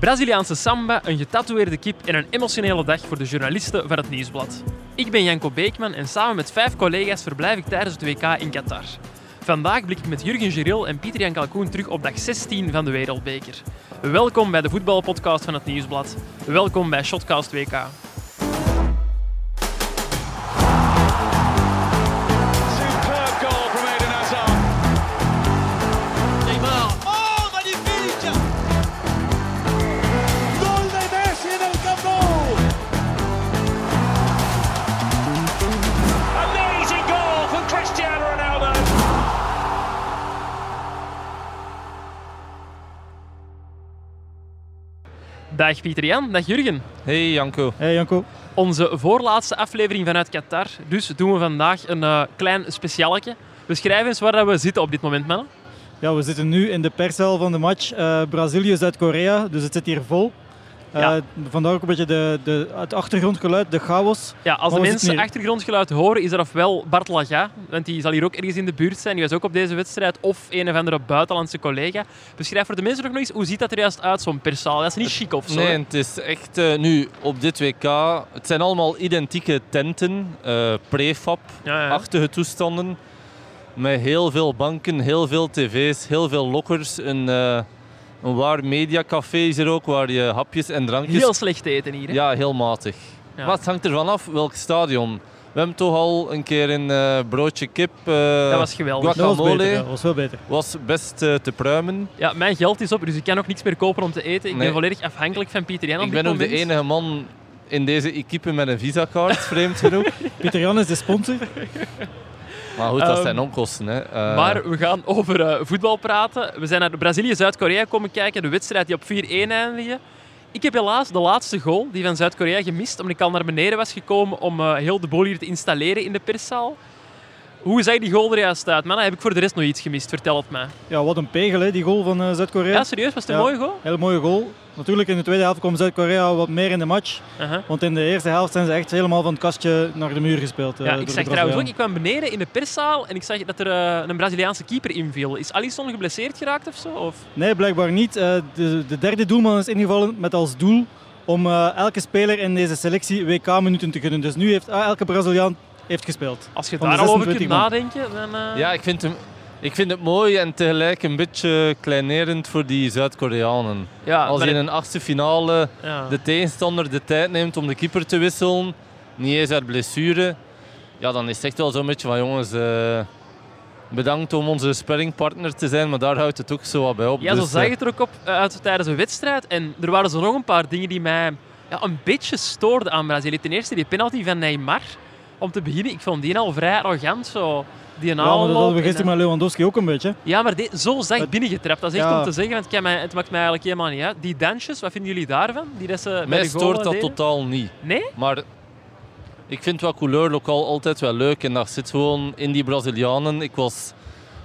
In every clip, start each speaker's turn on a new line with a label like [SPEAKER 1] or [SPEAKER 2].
[SPEAKER 1] Braziliaanse samba, een getatoeëerde kip en een emotionele dag voor de journalisten van het Nieuwsblad. Ik ben Janko Beekman en samen met vijf collega's verblijf ik tijdens het WK in Qatar. Vandaag blik ik met Jurgen Giril en Pieter Jan Kalkoen terug op dag 16 van de Wereldbeker. Welkom bij de voetbalpodcast van het Nieuwsblad. Welkom bij Shotcast WK.
[SPEAKER 2] Superb goal from Eden Hazard.
[SPEAKER 3] ¡Oh, magnífica!
[SPEAKER 2] Gol de Messi en el Camp Nou. Amazing goal from Cristiano Ronaldo.
[SPEAKER 1] Dag Pieter Jan, dag Jurgen.
[SPEAKER 4] Hey Janko.
[SPEAKER 5] Hey Janko.
[SPEAKER 1] Onze voorlaatste aflevering vanuit Qatar. Dus doen we vandaag een eh, klein specialetje. Beschrijf eens waar dat we zitten op dit moment, mannen.
[SPEAKER 5] Ja, we zitten nu in de pershal van de match. eh Brazilië, Zuid-Korea, dus het zit hier vol. Eh,
[SPEAKER 1] Ja.
[SPEAKER 5] Vandaar ook een beetje de, de, het achtergrondgeluid, de chaos.
[SPEAKER 1] Ja, als de
[SPEAKER 5] Maar we
[SPEAKER 1] mensen
[SPEAKER 5] zitten hier-
[SPEAKER 1] achtergrondgeluid horen, is dat ofwel Bart Laga, want die zal hier ook ergens in de buurt zijn, die was ook op deze wedstrijd, of een of andere buitenlandse collega. Beschrijf voor de mensen ook nog eens, hoe ziet dat er juist uit, zo'n persaal? Dat is niet chic of zo.
[SPEAKER 4] Nee,
[SPEAKER 1] hè?
[SPEAKER 4] het is echt eh, nu op dit WK. Het zijn allemaal identieke tenten, eh
[SPEAKER 1] Ja,
[SPEAKER 4] prefab-achtige
[SPEAKER 1] ja.
[SPEAKER 4] toestanden. Met heel veel banken, heel veel tv's, heel veel lokkers. Een, eh, een waar mediacafé is er ook, waar je hapjes en drankjes.
[SPEAKER 1] Heel slecht eten hier. hè?
[SPEAKER 4] Ja, heel matig.
[SPEAKER 1] Ja.
[SPEAKER 4] Maar het hangt ervan af welk stadion. We hebben toch al een keer een eh, broodje kip. eh,
[SPEAKER 1] Dat was geweldig.
[SPEAKER 4] guac-
[SPEAKER 5] Dat was
[SPEAKER 4] Guacamole.
[SPEAKER 5] beter, ja, was veel beter.
[SPEAKER 4] was best eh, te pruimen.
[SPEAKER 1] Ja, mijn geld is op, dus ik kan ook niks meer kopen om te eten. Ik
[SPEAKER 4] Nee.
[SPEAKER 1] ben volledig afhankelijk van Pieter Jan op
[SPEAKER 4] Ik
[SPEAKER 1] dit
[SPEAKER 4] ben ook de
[SPEAKER 1] moment.
[SPEAKER 4] enige man in deze equipe met een visakaart, vreemd genoeg.
[SPEAKER 5] Pieter Jan is de sponsor.
[SPEAKER 4] Maar goed, dat
[SPEAKER 1] Ehm,
[SPEAKER 4] zijn onkosten. Hè. Eh,
[SPEAKER 1] Maar we gaan over eh, voetbal praten. We zijn naar Brazilië-Zuid-Korea komen kijken. De wedstrijd die op 4-1 eindigde. Ik heb helaas de laatste goal, die van Zuid-Korea, gemist. Omdat ik al naar beneden was gekomen om eh, heel de boel hier te installeren in de perszaal. Hoe zag die goal er juist uit? Mannen, heb ik voor de rest nog iets gemist? Vertel het mij.
[SPEAKER 5] Ja, wat een pegel, hè, die goal van eh, Zuid-Korea.
[SPEAKER 1] Ja, serieus? Was het een
[SPEAKER 5] Ja.
[SPEAKER 1] mooie goal?
[SPEAKER 5] Heel mooie goal. Natuurlijk, in de tweede helft kwam Zuid-Korea wat meer in de match.
[SPEAKER 1] Aha.
[SPEAKER 5] Want in de eerste helft zijn ze echt helemaal van het kastje naar de muur gespeeld. eh,
[SPEAKER 1] Ja,
[SPEAKER 5] door
[SPEAKER 1] ik
[SPEAKER 5] de
[SPEAKER 1] zag trouwens ook,
[SPEAKER 5] Brazilianen.
[SPEAKER 1] ik kwam beneden in de perszaal en ik zag dat er eh, een Braziliaanse keeper inviel. Is Alisson geblesseerd geraakt of zo? Of?
[SPEAKER 5] Nee, blijkbaar niet. Eh, de, de derde doelman is ingevallen met als doel om eh, elke speler in deze selectie WK-minuten te gunnen. Dus nu heeft ah, elke Braziliaan heeft gespeeld.
[SPEAKER 1] Als je
[SPEAKER 5] Van
[SPEAKER 1] daar
[SPEAKER 5] de
[SPEAKER 1] al over kunt
[SPEAKER 5] 26 man.
[SPEAKER 1] nadenken, dan... eh,
[SPEAKER 4] Ja, ik vind, hem, ik vind het mooi en tegelijk een beetje kleinerend voor die Zuid-Koreanen.
[SPEAKER 1] ja,
[SPEAKER 4] Als
[SPEAKER 1] maar
[SPEAKER 4] je in
[SPEAKER 1] het-
[SPEAKER 4] een achtste finale
[SPEAKER 1] ja.
[SPEAKER 4] de tegenstander de tijd neemt om de keeper te wisselen, niet eens uit blessure, ja, dan is het echt wel zo'n beetje van jongens... eh, Bedankt om onze sparringpartner te zijn, maar daar houdt het ook zo wat bij op.
[SPEAKER 1] Ja, zo
[SPEAKER 4] Dus,
[SPEAKER 1] zag
[SPEAKER 4] eh,
[SPEAKER 1] het er ook op eh, uit tijdens een wedstrijd. En er waren zo nog een paar dingen die mij ja, een beetje stoorden aan Brazilië. Ten eerste die penalty van Neymar. Om te beginnen, ik vond die al vrij arrogant. Zo. Die een
[SPEAKER 5] Ja, maar dat
[SPEAKER 1] aanloop
[SPEAKER 5] hadden we
[SPEAKER 1] en
[SPEAKER 5] gisteren
[SPEAKER 1] dan-
[SPEAKER 5] met Lewandowski ook een beetje.
[SPEAKER 1] Ja, maar die- zo zacht
[SPEAKER 5] Het-
[SPEAKER 1] binnengetrapt. Dat is echt
[SPEAKER 5] Ja.
[SPEAKER 1] om te zeggen, want het, kan mij- het maakt mij eigenlijk helemaal niet uit. Die dansjes, wat vinden jullie daarvan? Die dat ze bij
[SPEAKER 4] Mij
[SPEAKER 1] de goal
[SPEAKER 4] stoort dat
[SPEAKER 1] deden?
[SPEAKER 4] totaal niet.
[SPEAKER 1] Nee?
[SPEAKER 4] Maar ik vind wel couleur lokaal altijd wel leuk. En daar zit gewoon in die Brazilianen. Ik was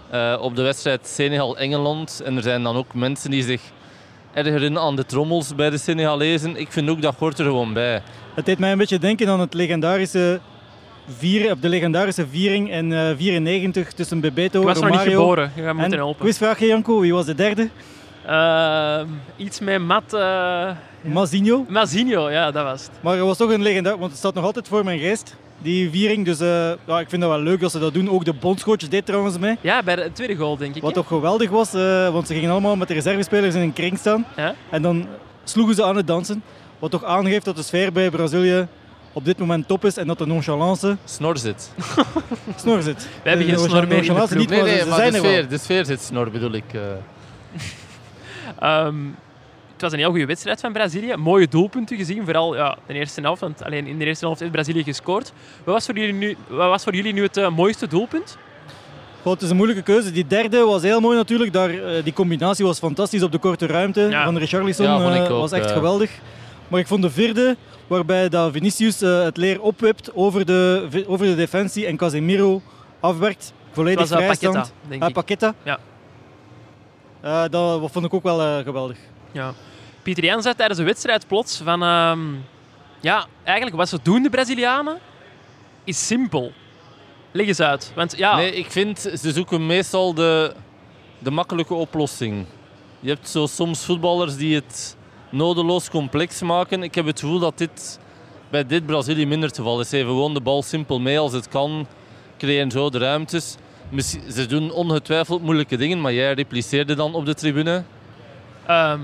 [SPEAKER 4] eh, op de wedstrijd Senegal-Engeland. En er zijn dan ook mensen die zich ergeren aan de trommels bij de Senegalezen. Ik vind ook, dat hoort er gewoon bij.
[SPEAKER 5] Het deed mij een beetje denken aan het legendarische vier, of de legendarische viering in eh 94 tussen Bebeto
[SPEAKER 1] Ik
[SPEAKER 5] en
[SPEAKER 1] was nog
[SPEAKER 5] Romario.
[SPEAKER 1] niet geboren. Je gaat me
[SPEAKER 5] En
[SPEAKER 1] moeten helpen.
[SPEAKER 5] quizvraagje Janko, wie was de derde?
[SPEAKER 1] Ehm, iets met Mat... eh
[SPEAKER 5] Mazinho.
[SPEAKER 1] Mazinho, ja, dat was het.
[SPEAKER 5] Maar het was toch een legenda, want het staat nog altijd voor mijn geest, die viering. Dus eh, ja, ik vind dat wel leuk dat ze dat doen. Ook de bondscoach deed trouwens mee.
[SPEAKER 1] Ja, bij de tweede goal, denk ik.
[SPEAKER 5] Wat
[SPEAKER 1] hè?
[SPEAKER 5] toch geweldig was, eh, want ze gingen allemaal met de reservespelers in een kring staan.
[SPEAKER 1] Ja.
[SPEAKER 5] En dan sloegen ze aan het dansen. Wat toch aangeeft dat de sfeer bij Brazilië op dit moment top is en dat de nonchalance
[SPEAKER 4] Snor zit.
[SPEAKER 5] snor zit. Eh,
[SPEAKER 1] Wij hebben geen
[SPEAKER 5] De
[SPEAKER 1] snor meer in de
[SPEAKER 5] nonchalance
[SPEAKER 1] ploeg.
[SPEAKER 5] niet, maar ze zijn er wel.
[SPEAKER 4] de sfeer zit snor, bedoel ik. eh.
[SPEAKER 1] Ehm, het was een heel goede wedstrijd van Brazilië. Mooie doelpunten gezien, vooral ja, de eerste helft. Want alleen in de eerste helft heeft Brazilië gescoord. Wat was voor jullie nu, wat was voor jullie nu het eh, mooiste doelpunt?
[SPEAKER 5] Goh, Oh, het is een moeilijke keuze. Die derde was heel mooi natuurlijk. Daar, eh, die combinatie was fantastisch op de korte ruimte
[SPEAKER 1] Ja.
[SPEAKER 5] van Richarlison.
[SPEAKER 4] Ja, vond ik
[SPEAKER 5] eh,
[SPEAKER 4] ook,
[SPEAKER 5] was echt
[SPEAKER 4] eh.
[SPEAKER 5] geweldig. Maar ik vond de vierde, waarbij dat Vinicius eh, het leer opwipt over de, over de defensie en Casemiro afwerkt. Volledig
[SPEAKER 1] Het was eh,
[SPEAKER 5] vrijstand.
[SPEAKER 1] Paqueta, denk
[SPEAKER 5] Ah,
[SPEAKER 1] ik.
[SPEAKER 5] Paqueta.
[SPEAKER 1] Ja.
[SPEAKER 5] Eh, dat vond ik ook wel eh, geweldig.
[SPEAKER 1] Ja. Pieter Jan zei tijdens de wedstrijd plots van... ehm, ja, eigenlijk wat ze doen, de Brazilianen, is simpel. Leg eens uit. Want ja,
[SPEAKER 4] Nee, ik vind ze zoeken meestal de, de makkelijke oplossing. Je hebt zo soms voetballers die het nodeloos complex maken. Ik heb het gevoel dat dit bij dit Brazilië minder het geval is. Ze geven gewoon de bal simpel mee als het kan, creëren zo de ruimtes. Misschien- Ze doen ongetwijfeld moeilijke dingen, maar jij repliceerde dan op de tribune.
[SPEAKER 1] Ehm,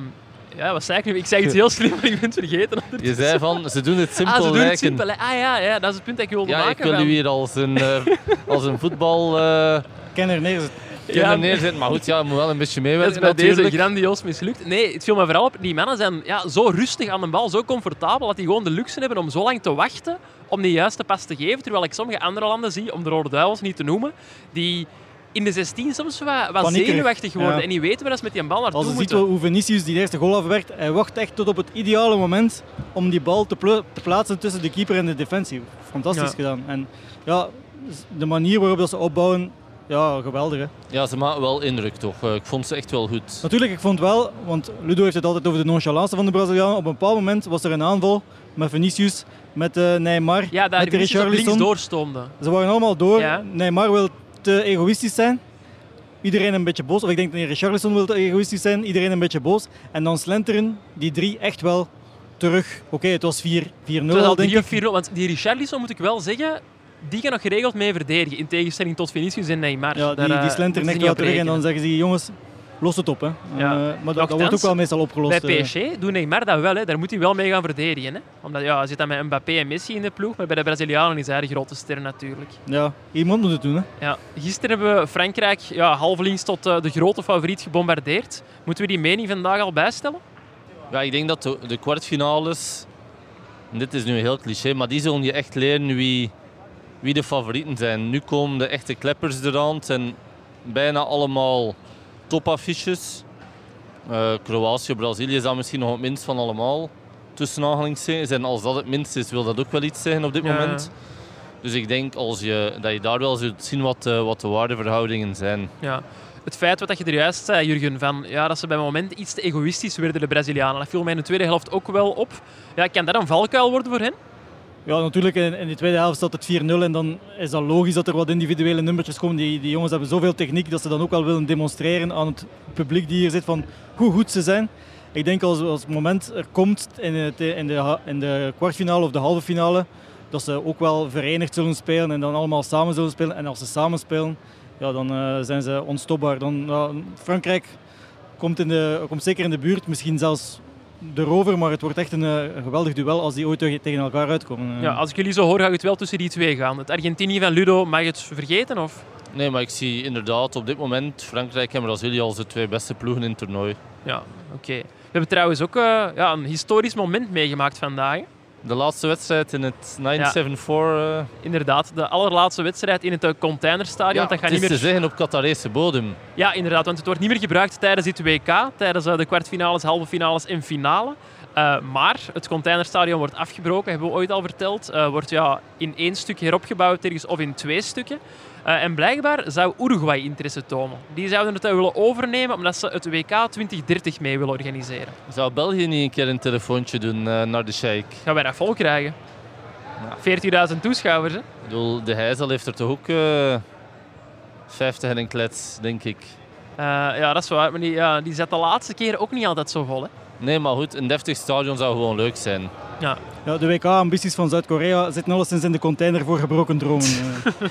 [SPEAKER 1] ja, wat zei ik nu? Ik zei iets heel slim, maar ik ben het vergeten.
[SPEAKER 4] Je zei van, ze doen het simpel
[SPEAKER 1] ah, ze doen het
[SPEAKER 4] lijken.
[SPEAKER 1] simpel. hè. Ah ja, ja, dat is het punt dat ik wilde
[SPEAKER 4] Ja, ik
[SPEAKER 1] maken.
[SPEAKER 4] wil
[SPEAKER 1] van-
[SPEAKER 4] u hier als een, eh, als een voetbal... eh,
[SPEAKER 5] Kenner neer.
[SPEAKER 4] kunnen
[SPEAKER 1] Ja,
[SPEAKER 4] neerzetten. Maar goed, ja, je moet wel een beetje
[SPEAKER 1] Dat is
[SPEAKER 4] meewerken
[SPEAKER 1] bij deze
[SPEAKER 4] natuurlijk.
[SPEAKER 1] grandioos mislukt. Nee, het viel me vooral op. Die mannen zijn ja, zo rustig aan de bal, zo comfortabel, dat die gewoon de luxe hebben om zo lang te wachten om die juiste pas te geven. Terwijl ik sommige andere landen zie, om de Rode Duivels niet te noemen, die in de 16 soms wat, wat
[SPEAKER 5] Paniekerig.
[SPEAKER 1] zenuwachtig worden
[SPEAKER 5] Ja.
[SPEAKER 1] en die weten waar dat ze met die bal naartoe
[SPEAKER 5] Als je ziet
[SPEAKER 1] moeten.
[SPEAKER 5] hoe Vinicius die eerste goal afwerkt, hij wacht echt tot op het ideale moment om die bal te, pla- te plaatsen tussen de keeper en de defensie. Fantastisch
[SPEAKER 1] Ja.
[SPEAKER 5] gedaan. En ja, de manier waarop dat ze opbouwen, ja, geweldig. Hè?
[SPEAKER 4] Ja, ze maken wel indruk toch. Eh, Ik vond ze echt wel goed.
[SPEAKER 5] Natuurlijk, ik vond wel, want Ludo heeft het altijd over de nonchalance van de Brazilianen. Op een bepaald moment was er een aanval met Vinicius, met eh, Neymar,
[SPEAKER 1] Ja, daar
[SPEAKER 5] met
[SPEAKER 1] de
[SPEAKER 5] de
[SPEAKER 1] links
[SPEAKER 5] Richarlison.
[SPEAKER 1] doorstoomde.
[SPEAKER 5] Ze waren allemaal door.
[SPEAKER 1] Ja.
[SPEAKER 5] Neymar wil te egoïstisch zijn. Iedereen een beetje boos. Of ik denk dat Richarlison wil te egoïstisch zijn. Iedereen een beetje boos. En dan slenteren die drie echt wel terug. Oké, het was 4 4-0
[SPEAKER 1] Het was
[SPEAKER 5] al,
[SPEAKER 1] al
[SPEAKER 5] denk
[SPEAKER 1] 3 of
[SPEAKER 5] ik.
[SPEAKER 1] 4 Want die Richarlison, moet ik wel zeggen, die kan nog geregeld mee verdedigen. In tegenstelling tot Vinicius en Neymar.
[SPEAKER 5] Ja,
[SPEAKER 1] Daar,
[SPEAKER 5] die,
[SPEAKER 1] eh,
[SPEAKER 5] die
[SPEAKER 1] moeten
[SPEAKER 5] slenteren
[SPEAKER 1] ze
[SPEAKER 5] echt
[SPEAKER 1] niet
[SPEAKER 5] wel
[SPEAKER 1] op
[SPEAKER 5] terug. En
[SPEAKER 1] rekenen.
[SPEAKER 5] dan zeggen ze, jongens, los het op. Hè. En,
[SPEAKER 1] Ja.
[SPEAKER 5] eh, maar dat, dat wordt ook
[SPEAKER 1] Nochtans,
[SPEAKER 5] wel meestal opgelost.
[SPEAKER 1] Bij
[SPEAKER 5] eh.
[SPEAKER 1] PSG doet Neymar dat wel, hè. daar moet hij wel mee gaan verdedigen. Hè. Omdat ja, hij zit dan met Mbappé en Messi in de ploeg, maar bij de Brazilianen is hij de grote ster natuurlijk.
[SPEAKER 5] Ja, iemand moet het doen. Hè.
[SPEAKER 1] Ja. Gisteren hebben we Frankrijk ja, halvelings tot eh, de grote favoriet gebombardeerd. Moeten we die mening vandaag al bijstellen?
[SPEAKER 4] Ja, ik denk dat de, de kwartfinales, en dit is nu heel cliché, maar die zullen je echt leren wie, wie de favorieten zijn. Nu komen de echte kleppers eraan. Het zijn bijna allemaal topaffiches. Eh, Kroatië, Brazilië is daar misschien nog het minst van allemaal. Tussen aanhalingstekens. En als dat het minst is, wil dat ook wel iets zeggen op dit
[SPEAKER 1] Ja.
[SPEAKER 4] moment. Dus ik denk als je, dat je daar wel zult zien wat, eh, wat de waardeverhoudingen zijn.
[SPEAKER 1] Ja. Het feit wat je er juist zei, Jurgen, van, ja, dat ze bij moment iets te egoïstisch werden, de Brazilianen. Dat viel mij in de tweede helft ook wel op. Ja, kan dat een valkuil worden voor hen?
[SPEAKER 5] Ja, natuurlijk. In, in de tweede helft staat het 4-0. En dan is dat logisch dat er wat individuele nummertjes komen. Die, die jongens hebben zoveel techniek dat ze dan ook wel willen demonstreren aan het publiek die hier zit van hoe goed ze zijn. Ik denk als, als het moment er komt in, het, in, de, ha- in de kwartfinale of de halve finale, dat ze ook wel verenigd zullen spelen en dan allemaal samen zullen spelen. En als ze samen spelen, ja, dan eh, zijn ze onstopbaar. Dan, ja, Frankrijk komt, in de, komt zeker in de buurt, misschien zelfs de rover, maar het wordt echt een, eh, een geweldig duel als die ooit tegen- tegen elkaar uitkomen. Eh,
[SPEAKER 1] Ja, als ik jullie zo hoor, ga ik het wel tussen die twee gaan. Het Argentinië van Ludo, mag je het vergeten? Of?
[SPEAKER 4] Nee, maar ik zie inderdaad op dit moment Frankrijk en Brazilië als de twee beste ploegen in het toernooi.
[SPEAKER 1] Ja, oké. We hebben trouwens ook eh, ja, een historisch moment meegemaakt vandaag. hè.
[SPEAKER 4] De laatste wedstrijd in het 974. eh,
[SPEAKER 1] Ah, Inderdaad, de allerlaatste wedstrijd in het eh, containerstadion. dat
[SPEAKER 4] het
[SPEAKER 1] gaat
[SPEAKER 4] is dus,
[SPEAKER 1] niet meer...
[SPEAKER 4] te zeggen op Qatarese bodem.
[SPEAKER 1] Ja, inderdaad, want het wordt niet meer gebruikt tijdens dit WK, tijdens eh, de kwartfinales, halve finales en finale. Eh, maar het containerstadion wordt afgebroken, hebben we ooit al verteld. Eh, wordt ja, in één stuk heropgebouwd ergens of in twee stukken. Eh, en blijkbaar zou Uruguay interesse tonen. Die zouden het dan willen overnemen omdat ze het WK 2030 mee willen organiseren.
[SPEAKER 4] Zou België niet een keer een telefoontje doen eh, naar de sheik?
[SPEAKER 1] Gaan wij dat vol krijgen? 14.000 toeschouwers, hè?
[SPEAKER 4] Ik bedoel, de Heijzel heeft er toch ook eh 50 en een klets, denk ik.
[SPEAKER 1] Eh, ja, dat is waar. Maar die, ja, die zat de laatste keer ook niet altijd zo vol. Hè?
[SPEAKER 4] Nee, maar goed, een deftig stadion zou gewoon leuk zijn.
[SPEAKER 1] Ja.
[SPEAKER 5] Ja, de WK-ambities van Zuid-Korea zitten alleszins in de container voor gebroken dromen. eh.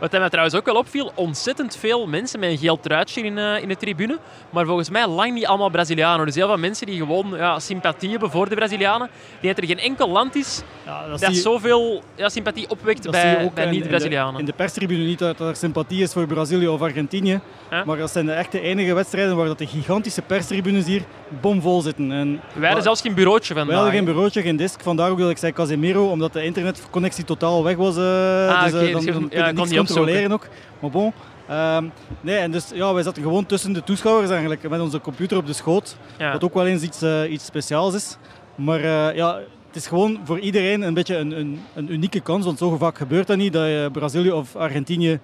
[SPEAKER 1] Wat mij trouwens ook wel opviel, ontzettend veel mensen met een geel truitje in, eh, in de tribune. Maar volgens mij lang niet allemaal Brazilianen. Dus heel veel mensen die gewoon ja, sympathie hebben voor de Brazilianen. Die dat er geen enkel land is
[SPEAKER 5] Ja,
[SPEAKER 1] dat,
[SPEAKER 5] zie je-
[SPEAKER 1] zoveel ja, sympathie opwekt
[SPEAKER 5] dat zie je
[SPEAKER 1] bij,
[SPEAKER 5] ook
[SPEAKER 1] bij
[SPEAKER 5] in- In de,
[SPEAKER 1] niet-Brazilianen.
[SPEAKER 5] in de perstribune niet dat er sympathie is voor Brazilië of Argentinië.
[SPEAKER 1] Ja.
[SPEAKER 5] Maar dat zijn de echte enige wedstrijden waar dat de gigantische perstribunes hier bomvol zitten. En
[SPEAKER 1] Wij hadden zelfs geen bureautje
[SPEAKER 5] wij
[SPEAKER 1] vandaag.
[SPEAKER 5] hadden geen bureautje, geen disk. Vandaar ook dat ik zei Casemiro, omdat de internetconnectie totaal weg was. eh, dus
[SPEAKER 1] oké,
[SPEAKER 5] eh,
[SPEAKER 1] dus
[SPEAKER 5] dan,
[SPEAKER 1] je-
[SPEAKER 5] dan
[SPEAKER 1] ja,
[SPEAKER 5] kun je
[SPEAKER 1] kon
[SPEAKER 5] niks
[SPEAKER 1] niet opzoeken.
[SPEAKER 5] controleren ook. Maar bon. ehm, nee, en dus, ja, wij zaten gewoon tussen de toeschouwers eigenlijk, met onze computer op de schoot.
[SPEAKER 1] Ja.
[SPEAKER 5] Wat ook wel eens iets, eh, iets speciaals is. Maar eh, ja, het is gewoon voor iedereen een beetje een, een, een unieke kans. Want zo vaak gebeurt dat niet dat je Brazilië of Argentinië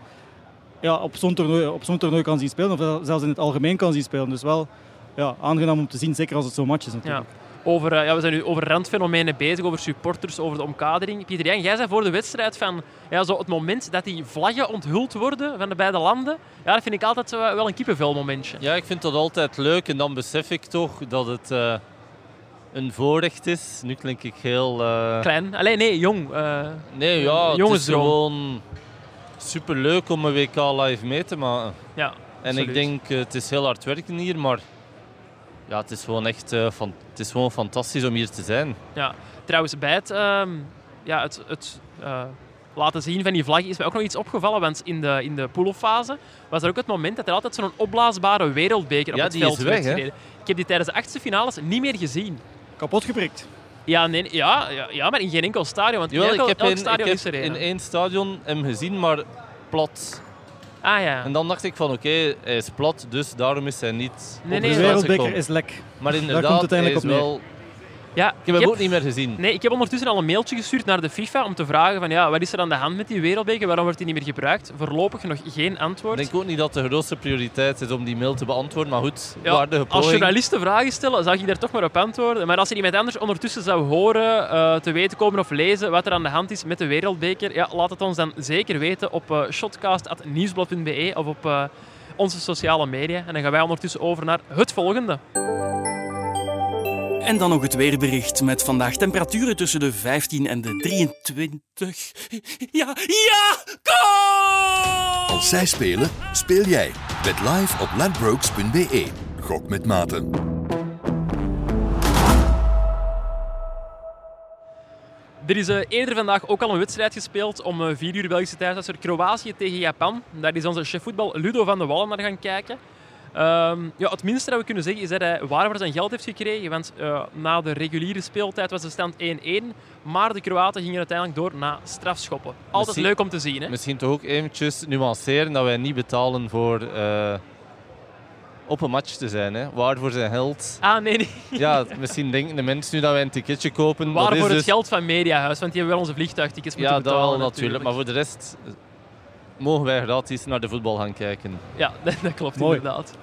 [SPEAKER 5] ja, op zo'n toernooi, op zo'n toernooi kan zien spelen. Of wel- zelfs in het algemeen kan zien spelen. Dus wel ja, aangenaam om te zien, zeker als het zo'n match is
[SPEAKER 1] Ja.
[SPEAKER 5] natuurlijk.
[SPEAKER 1] Over, eh, ja, we zijn nu over randfenomenen bezig, over supporters, over de omkadering. Pieter Jan, jij zei voor de wedstrijd van ja, zo het moment dat die vlaggen onthuld worden van de beide landen. Ja, dat vind ik eh, altijd zo wel een kippenvel momentje.
[SPEAKER 4] Ja, ik vind dat altijd leuk en dan besef ik toch dat het eh, een voorrecht is. Nu klink ik heel... eh,
[SPEAKER 1] Klein. Allee, nee, jong. eh,
[SPEAKER 4] nee, ja, het is
[SPEAKER 1] jongensdroom.
[SPEAKER 4] gewoon superleuk om een WK live mee te maken.
[SPEAKER 1] ja,
[SPEAKER 4] En
[SPEAKER 1] absoluut.
[SPEAKER 4] ik denk, eh, het is heel hard werken hier, maar ja, het is gewoon echt eh, fan- het is gewoon fantastisch om hier te zijn.
[SPEAKER 1] Ja. Trouwens, bij het, ehm, ja, het, het eh, laten zien van die vlag is mij ook nog iets opgevallen. Want in de, in de poolfase was er ook het moment dat er altijd zo'n opblaasbare wereldbeker op
[SPEAKER 4] Ja,
[SPEAKER 1] het
[SPEAKER 4] die
[SPEAKER 1] veld
[SPEAKER 4] is weg,
[SPEAKER 1] werd
[SPEAKER 4] hè?
[SPEAKER 1] gereden. Ik heb die tijdens de achtste finales niet meer gezien.
[SPEAKER 5] Kapot geprikt.
[SPEAKER 1] Ja, nee, ja, ja, ja, maar in geen enkel stadion. Want
[SPEAKER 4] Jawel,
[SPEAKER 1] in elk,
[SPEAKER 4] ik heb,
[SPEAKER 1] elk
[SPEAKER 4] in, ik
[SPEAKER 1] stadion
[SPEAKER 4] heb
[SPEAKER 1] is er één.
[SPEAKER 4] in één stadion hem gezien, maar plat.
[SPEAKER 1] Ah ja.
[SPEAKER 4] En dan dacht ik van, oké, hij is plat, dus daarom is hij niet
[SPEAKER 1] Nee,
[SPEAKER 4] op
[SPEAKER 1] nee,
[SPEAKER 5] De
[SPEAKER 4] de
[SPEAKER 1] dat is
[SPEAKER 4] plaats
[SPEAKER 5] wereldbeker
[SPEAKER 4] gekomen.
[SPEAKER 5] is lek.
[SPEAKER 4] Maar inderdaad,
[SPEAKER 5] komt het
[SPEAKER 4] hij
[SPEAKER 5] eigenlijk
[SPEAKER 4] is
[SPEAKER 5] op neer.
[SPEAKER 4] wel...
[SPEAKER 1] ja
[SPEAKER 4] Ik heb hem ook niet meer gezien.
[SPEAKER 1] Nee, ik heb ondertussen al een mailtje gestuurd naar de FIFA om te vragen van ja, wat is er aan de hand met die wereldbeker? Waarom wordt die niet meer gebruikt? Voorlopig nog geen antwoord.
[SPEAKER 4] Ik denk ook niet dat de grootste prioriteit is om die mail te beantwoorden, maar goed,
[SPEAKER 1] Ja,
[SPEAKER 4] waardige
[SPEAKER 1] als
[SPEAKER 4] poging.
[SPEAKER 1] journalisten vragen stellen, zou ik daar toch maar op antwoorden. Maar als er iemand anders ondertussen zou horen, eh, te weten komen of lezen wat er aan de hand is met de wereldbeker, ja, laat het ons dan zeker weten op eh, shotcast.nieuwsblad.be of op eh, onze sociale media. En dan gaan wij ondertussen over naar het volgende.
[SPEAKER 6] En dan nog het weerbericht met vandaag temperaturen tussen de 15 en de 23. Ja, ja, goal!
[SPEAKER 7] Als zij spelen, speel jij. Bet live op ladbrokes.be. E. Gok met maten.
[SPEAKER 1] Er is eh, eerder vandaag ook al een wedstrijd gespeeld om eh, 4 uur Belgische tijd. Dat is er Kroatië tegen Japan. Daar is onze chef voetbal Ludo van de Wallen naar gaan kijken. Ehm, ja, het minste dat we kunnen zeggen is dat hij waar voor zijn geld heeft gekregen. Want eh, na de reguliere speeltijd was de stand 1-1. Maar de Kroaten gingen uiteindelijk door na strafschoppen. Altijd
[SPEAKER 4] Misschien-
[SPEAKER 1] leuk om te zien. Hè?
[SPEAKER 4] Misschien toch ook eventjes nuanceren dat wij niet betalen voor eh, op een match te zijn. Hè. Waar voor zijn geld.
[SPEAKER 1] Ah, nee, nee.
[SPEAKER 4] Ja, misschien denken de mensen nu dat wij een ticketje kopen. dat
[SPEAKER 1] Waar
[SPEAKER 4] is
[SPEAKER 1] voor het
[SPEAKER 4] dus-
[SPEAKER 1] geld van Mediahuis. Want die hebben wel onze vliegtuigtickets
[SPEAKER 4] Ja,
[SPEAKER 1] moeten
[SPEAKER 4] dat wel
[SPEAKER 1] betalen.
[SPEAKER 4] natuurlijk. Maar voor de rest eh, mogen wij gratis naar de voetbal gaan kijken.
[SPEAKER 1] Ja, dat, dat klopt
[SPEAKER 5] Mooi.
[SPEAKER 1] inderdaad.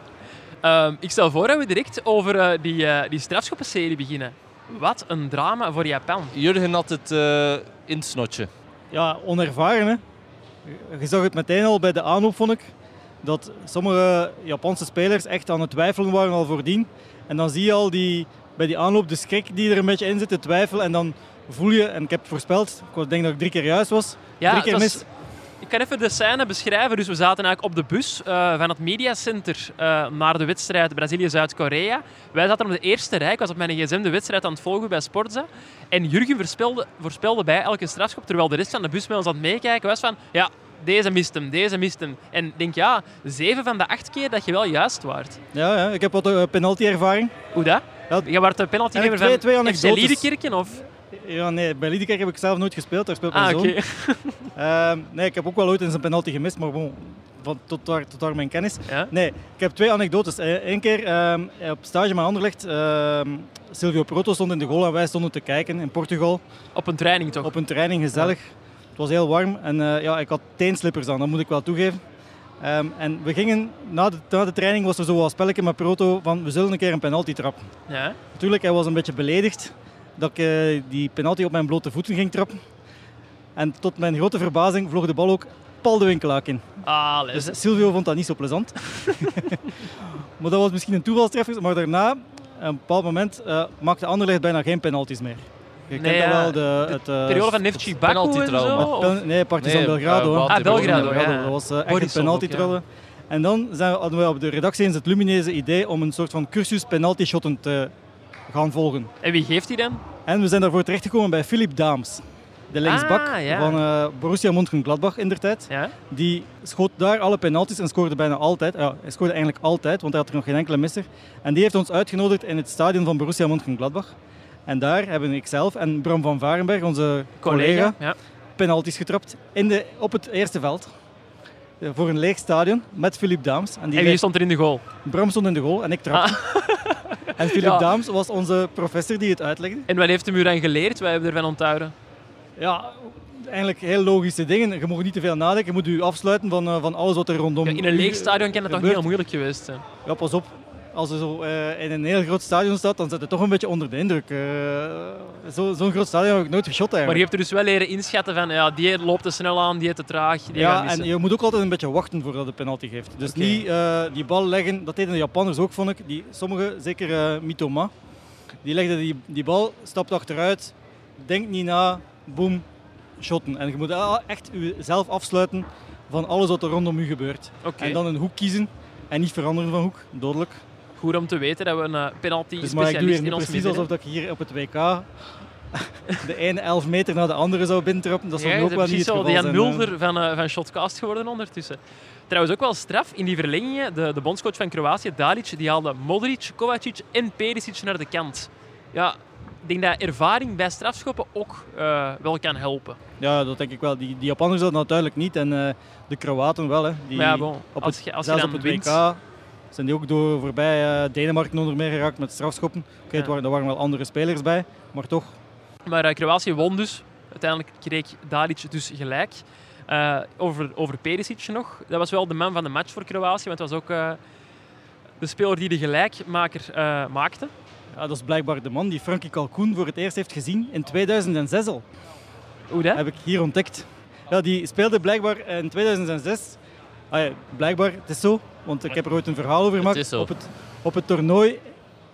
[SPEAKER 1] Ehm, ik stel voor dat we direct over eh, die, eh, die strafschoppenserie beginnen. Wat een drama voor Japan.
[SPEAKER 4] Jurgen had het eh in het snotje.
[SPEAKER 5] Ja, onervaren hè. Je zag het meteen al bij de aanloop, vond ik. Dat sommige Japanse spelers echt aan het twijfelen waren al voordien. En dan zie je al die, bij die aanloop de schrik die er een beetje in zit, de twijfel. En dan voel je, en ik heb het voorspeld, ik denk dat ik drie keer juist was.
[SPEAKER 1] Ja,
[SPEAKER 5] drie keer
[SPEAKER 1] het was-
[SPEAKER 5] mis.
[SPEAKER 1] Ik kan even de scène beschrijven. Dus we zaten eigenlijk op de bus eh, van het mediacenter eh, naar de wedstrijd Brazilië-Zuid-Korea. Wij zaten op de eerste rij. Ik was op mijn gsm de wedstrijd aan het volgen bij Sportza. En Jurgen voorspelde, voorspelde bij elke strafschop, terwijl de rest van de bus met ons aan het meekijken was van... Ja, deze mist hem, deze mist hem. En ik denk, ja, zeven van de acht keer dat je wel juist waart.
[SPEAKER 5] Ja, ja, ik heb wat eh, penalty-ervaring.
[SPEAKER 1] Hoe dat?
[SPEAKER 5] Ja,
[SPEAKER 1] Je werd de penaltynemer
[SPEAKER 5] Eigenlijk
[SPEAKER 1] van
[SPEAKER 5] twee- twee
[SPEAKER 1] FC
[SPEAKER 5] anekdotes.
[SPEAKER 1] Liedekerken, of?
[SPEAKER 5] Ja, nee, bij Liedekerk heb ik zelf nooit gespeeld, daar speelt mijn
[SPEAKER 1] Ah, oké.
[SPEAKER 5] zoon. Ehm, nee, ik heb ook wel ooit eens een penalty gemist, maar bon, van, tot, daar, tot daar mijn kennis.
[SPEAKER 1] Ja?
[SPEAKER 5] Nee, ik heb twee anekdotes. Eén keer ehm, op stage met Anderlecht, ehm, Silvio Proto stond in de goal en wij stonden te kijken in Portugal.
[SPEAKER 1] Op een training toch?
[SPEAKER 5] Op een training, gezellig. Het was heel warm en eh, ja, ik had teenslippers aan, dat moet ik wel toegeven. Ehm, en we gingen, na de, na de training was er zo wat spelletje met Proto van we zullen een keer een penalty trappen.
[SPEAKER 1] Ja.
[SPEAKER 5] Natuurlijk, hij was een beetje beledigd dat ik eh, die penalty op mijn blote voeten ging trappen. En tot mijn grote verbazing vloog de bal ook pal de winkelaak in.
[SPEAKER 1] Ah, les.
[SPEAKER 5] Dus Silvio vond dat niet zo plezant. maar dat was misschien een toevalstreffer. Maar daarna, op een bepaald moment, eh, maakte Anderlecht bijna geen penalties meer.
[SPEAKER 1] Nee,
[SPEAKER 5] Je kent dat
[SPEAKER 1] ja,
[SPEAKER 5] wel, de,
[SPEAKER 1] de
[SPEAKER 5] het... eh,
[SPEAKER 1] periode van Nefci
[SPEAKER 4] penalty
[SPEAKER 1] Baku en zo?
[SPEAKER 4] trauma.
[SPEAKER 1] of-
[SPEAKER 5] pen- nee, Partizan
[SPEAKER 4] Nee,
[SPEAKER 5] Belgrado. hè.
[SPEAKER 4] eh, Wat-
[SPEAKER 1] Ah, Belgrado,
[SPEAKER 4] Belgrado,
[SPEAKER 1] ja.
[SPEAKER 5] Dat was eh, echt een
[SPEAKER 1] Borisov
[SPEAKER 5] penalty
[SPEAKER 1] ook, ja.
[SPEAKER 5] trillen. En dan zijn, we- hadden we op de redactie eens het lumineuze idee om een soort van cursus penalty shotten te gaan volgen.
[SPEAKER 1] En wie geeft die dan?
[SPEAKER 5] En we zijn daarvoor terechtgekomen bij Philip Daams. De linksbak
[SPEAKER 1] Ah, ja.
[SPEAKER 5] van eh, Borussia Mönchengladbach in der tijd.
[SPEAKER 1] Ja?
[SPEAKER 5] Die schoot daar alle penalties en scoorde bijna altijd. Ja, hij scoorde eigenlijk altijd, want hij had er nog geen enkele misser. En die heeft ons uitgenodigd in het stadion van Borussia Mönchengladbach. En daar hebben ik zelf en Bram van Varenberg, onze collega,
[SPEAKER 1] Collega. Ja.
[SPEAKER 5] penalties getrapt in de, op het eerste veld. Eh, Voor een leeg stadion met Philippe Daams. En, die
[SPEAKER 1] En wie stond er in de goal?
[SPEAKER 5] Bram stond in de goal en ik trapte. En Philippe
[SPEAKER 1] Ja.
[SPEAKER 5] Daams was onze professor die het uitlegde.
[SPEAKER 1] En wat heeft hem u dan geleerd? Wij hebben ervan onthouden.
[SPEAKER 5] Ja, eigenlijk heel logische dingen. Je mag niet te veel nadenken. Je moet je afsluiten van, eh, van alles wat er rondom...
[SPEAKER 1] Ja, in een leeg stadion kan dat toch
[SPEAKER 5] gebeurt.
[SPEAKER 1] heel moeilijk geweest zijn?
[SPEAKER 5] Ja, pas op. Als je zo eh, in een heel groot stadion staat, dan zit je toch een beetje onder de indruk. Eh, zo- Zo'n groot stadion heb ik nooit geschot
[SPEAKER 1] Maar je
[SPEAKER 5] eigenlijk.
[SPEAKER 1] hebt er dus wel leren inschatten van, ja, die loopt te snel aan, die te traag, die gaat
[SPEAKER 5] ja,
[SPEAKER 1] missen.
[SPEAKER 5] en je moet ook altijd een beetje wachten voordat de penalty geeft. Dus
[SPEAKER 1] Oké.
[SPEAKER 5] niet eh, die bal leggen, dat deden de Japanners ook, vond ik. Die, sommige, zeker eh Mitoma, Die legde die, die bal, stapt achteruit, denkt niet na, boom, shotten. En je moet a- echt jezelf afsluiten van alles wat er rondom u gebeurt.
[SPEAKER 1] Oké.
[SPEAKER 5] En dan een hoek kiezen en niet veranderen van hoek, dodelijk.
[SPEAKER 1] Goed om te weten dat we een eh, penalty
[SPEAKER 5] Dus maar ik doe hier
[SPEAKER 1] specialist
[SPEAKER 5] nu
[SPEAKER 1] in ons
[SPEAKER 5] precies
[SPEAKER 1] midden
[SPEAKER 5] alsof
[SPEAKER 1] hebben.
[SPEAKER 5] dat ik hier op het WK de ene 11 meter naar de andere zou binnentrappen. Dat zou
[SPEAKER 1] Ja,
[SPEAKER 5] ook
[SPEAKER 1] dat
[SPEAKER 5] wel
[SPEAKER 1] is
[SPEAKER 5] niet
[SPEAKER 1] precies
[SPEAKER 5] het
[SPEAKER 1] zo
[SPEAKER 5] geval
[SPEAKER 1] de Jan
[SPEAKER 5] zijn. hè.
[SPEAKER 1] Mulder van, eh, van Shotcast geworden ondertussen. Trouwens ook wel straf, in die verlengingen, de, de bondscoach van Kroatië, Dalic, die haalde Modric, Kovacic en Perisic naar de kant. Ja, ik denk dat ervaring bij strafschoppen ook eh, wel kan helpen.
[SPEAKER 5] eh. Ja, dat denk ik wel. Die, die Japanners dat natuurlijk niet en eh, de Kroaten wel. Hè. Die
[SPEAKER 1] Maar ja, bon,
[SPEAKER 5] op
[SPEAKER 1] als
[SPEAKER 5] het,
[SPEAKER 1] je- als je
[SPEAKER 5] zelfs
[SPEAKER 1] dan
[SPEAKER 5] op het
[SPEAKER 1] wint-
[SPEAKER 5] WK zijn die ook door voorbij eh, Denemarken onder meer geraakt met strafschoppen. Oké, het
[SPEAKER 1] Ja.
[SPEAKER 5] waren, daar waren wel andere spelers bij, maar toch.
[SPEAKER 1] Maar eh, Kroatië won dus. Uiteindelijk kreeg Dalic dus gelijk. Eh, over, over Perisic nog. Dat was wel de man van de match voor Kroatië, want het was ook eh, de speler die de gelijkmaker eh, maakte.
[SPEAKER 5] Ja, dat is blijkbaar de man die Frankie Calcoen voor het eerst heeft gezien in 2006 al.
[SPEAKER 1] Hoe dat?
[SPEAKER 5] heb ik hier ontdekt. Ja, die speelde blijkbaar in 2006. Ah ja, blijkbaar, het is zo, want ik heb er ooit een verhaal over gemaakt.
[SPEAKER 4] is zo.
[SPEAKER 5] Op, het, op het toernooi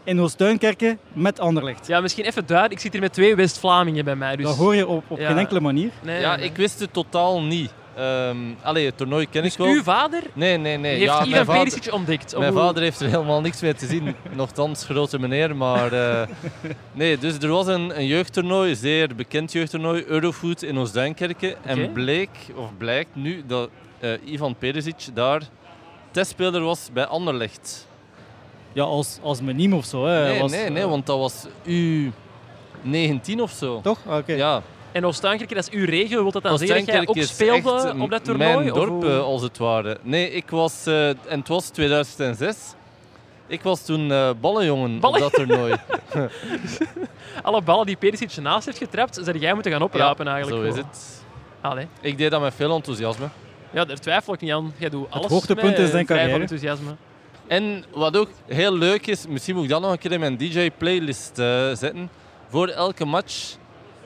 [SPEAKER 5] in Hoostuinkerken met Anderlecht.
[SPEAKER 1] Ja, misschien even duidelijk. Ik zit hier met twee West-Vlamingen bij mij. Dus...
[SPEAKER 5] Dat hoor je op, op
[SPEAKER 1] Ja.
[SPEAKER 5] geen enkele manier.
[SPEAKER 1] Nee,
[SPEAKER 4] Ja,
[SPEAKER 1] nee.
[SPEAKER 4] ik wist het totaal niet. Ehm allee, het toernooi ken ik wel.
[SPEAKER 1] Uw vader
[SPEAKER 4] Nee, nee,
[SPEAKER 1] Dus
[SPEAKER 4] nee.
[SPEAKER 1] heeft
[SPEAKER 4] ja,
[SPEAKER 1] Ivan
[SPEAKER 4] mijn vader,
[SPEAKER 1] Perisic ontdekt. Of
[SPEAKER 4] mijn
[SPEAKER 1] hoe-
[SPEAKER 4] vader heeft er helemaal niks mee te zien. Nochtans, grote meneer. Maar eh, nee, dus er was een, een jeugdtoernooi, zeer bekend jeugdtoernooi, Eurofood in Oostduinkerken.
[SPEAKER 1] Oké.
[SPEAKER 4] En bleek, of blijkt nu, dat eh, Ivan Perisic daar testspeler was bij Anderlecht.
[SPEAKER 5] Ja, als, als meniem of zo. Hè.
[SPEAKER 4] nee,
[SPEAKER 5] was,
[SPEAKER 4] nee,
[SPEAKER 5] eh,
[SPEAKER 4] nee, want dat was U19 of zo.
[SPEAKER 5] Toch? Ah, Oké.
[SPEAKER 4] Ja,
[SPEAKER 1] En Oost-Duinkerken, dat is uw regio. Wil dat dan zeggen dat jij
[SPEAKER 4] Oostenkerk
[SPEAKER 1] ook
[SPEAKER 4] is echt
[SPEAKER 1] speelde
[SPEAKER 4] m-
[SPEAKER 1] op dat toernooi?
[SPEAKER 4] Mijn
[SPEAKER 1] Of
[SPEAKER 4] dorp,
[SPEAKER 1] hoe-
[SPEAKER 4] eh, als het ware. Nee, ik was, eh, en het was 2006. Ik was toen eh ballenjongen
[SPEAKER 1] Ballen-
[SPEAKER 4] op dat toernooi. eh,
[SPEAKER 1] Alle ballen die Perisic naast heeft getrapt, zou jij moeten gaan oprapen eigenlijk.
[SPEAKER 4] Zo is
[SPEAKER 1] gewoon.
[SPEAKER 4] het.
[SPEAKER 1] Allee.
[SPEAKER 4] Ik deed dat met veel enthousiasme.
[SPEAKER 1] Ja, daar twijfel ik niet aan. Jij doet alles
[SPEAKER 5] hoogtepunt
[SPEAKER 1] met,
[SPEAKER 5] is
[SPEAKER 1] eh, vrij
[SPEAKER 5] zijn
[SPEAKER 1] van
[SPEAKER 5] carrière.
[SPEAKER 1] enthousiasme.
[SPEAKER 4] En wat ook heel leuk is, misschien moet ik dat nog een keer in mijn DJ-playlist eh, zetten. Voor elke match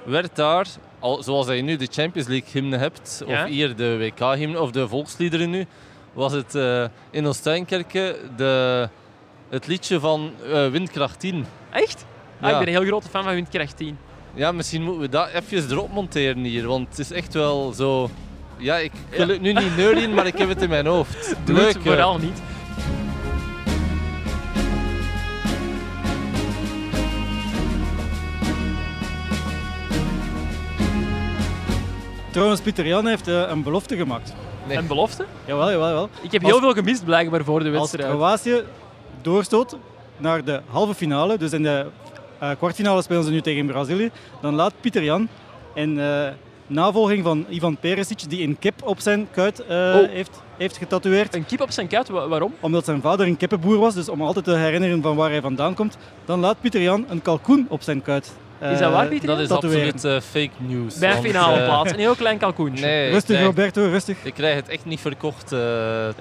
[SPEAKER 4] werd daar, al, zoals dat je nu de Champions League-hymne hebt,
[SPEAKER 1] Ja.
[SPEAKER 4] of hier de WK-hymne, of de volksliederen nu, was het eh, in Oostenkerken de, het liedje van eh, Windkracht 10.
[SPEAKER 1] Echt? Ah, ik
[SPEAKER 4] Ja.
[SPEAKER 1] ben een heel grote fan van Windkracht 10.
[SPEAKER 4] Ja, misschien moeten we dat even erop monteren hier, want het is echt wel zo... Ja, ik wil het nu niet neurien, maar ik heb het in mijn hoofd.
[SPEAKER 1] Doe
[SPEAKER 4] Leuk,
[SPEAKER 1] het
[SPEAKER 4] eh.
[SPEAKER 1] vooral niet.
[SPEAKER 5] Trouwens, Pieter Jan heeft eh, een belofte gemaakt.
[SPEAKER 4] Nee.
[SPEAKER 1] En belofte?
[SPEAKER 5] Jawel, jawel, jawel.
[SPEAKER 1] Ik heb
[SPEAKER 5] Als-
[SPEAKER 1] heel veel gemist blijkbaar voor de
[SPEAKER 5] Als
[SPEAKER 1] wedstrijd.
[SPEAKER 5] Kroatië doorstoot naar de halve finale, dus in de eh, kwartfinale spelen ze nu tegen Brazilië, dan laat Pieter Jan in eh, navolging van Ivan Perisic, die een kip op zijn kuit eh,
[SPEAKER 1] Oh.
[SPEAKER 5] heeft, heeft getatoeëerd,
[SPEAKER 1] Een kip op zijn kuit, wa- waarom?
[SPEAKER 5] omdat zijn vader een kippenboer was, dus om altijd te herinneren van waar hij vandaan komt, dan laat Pieter Jan een kalkoen op zijn kuit. eh,
[SPEAKER 1] Is dat waar, Pieter?
[SPEAKER 4] Dat is
[SPEAKER 5] Tatoeëren.
[SPEAKER 4] absoluut eh, fake news.
[SPEAKER 1] Bij een
[SPEAKER 4] want,
[SPEAKER 1] finale
[SPEAKER 4] eh,
[SPEAKER 1] plaats. Een heel klein kalkoentje.
[SPEAKER 4] Nee, ik
[SPEAKER 5] Rustig
[SPEAKER 4] krijg-
[SPEAKER 5] Roberto, rustig.
[SPEAKER 4] Ik krijg het echt niet verkocht eh,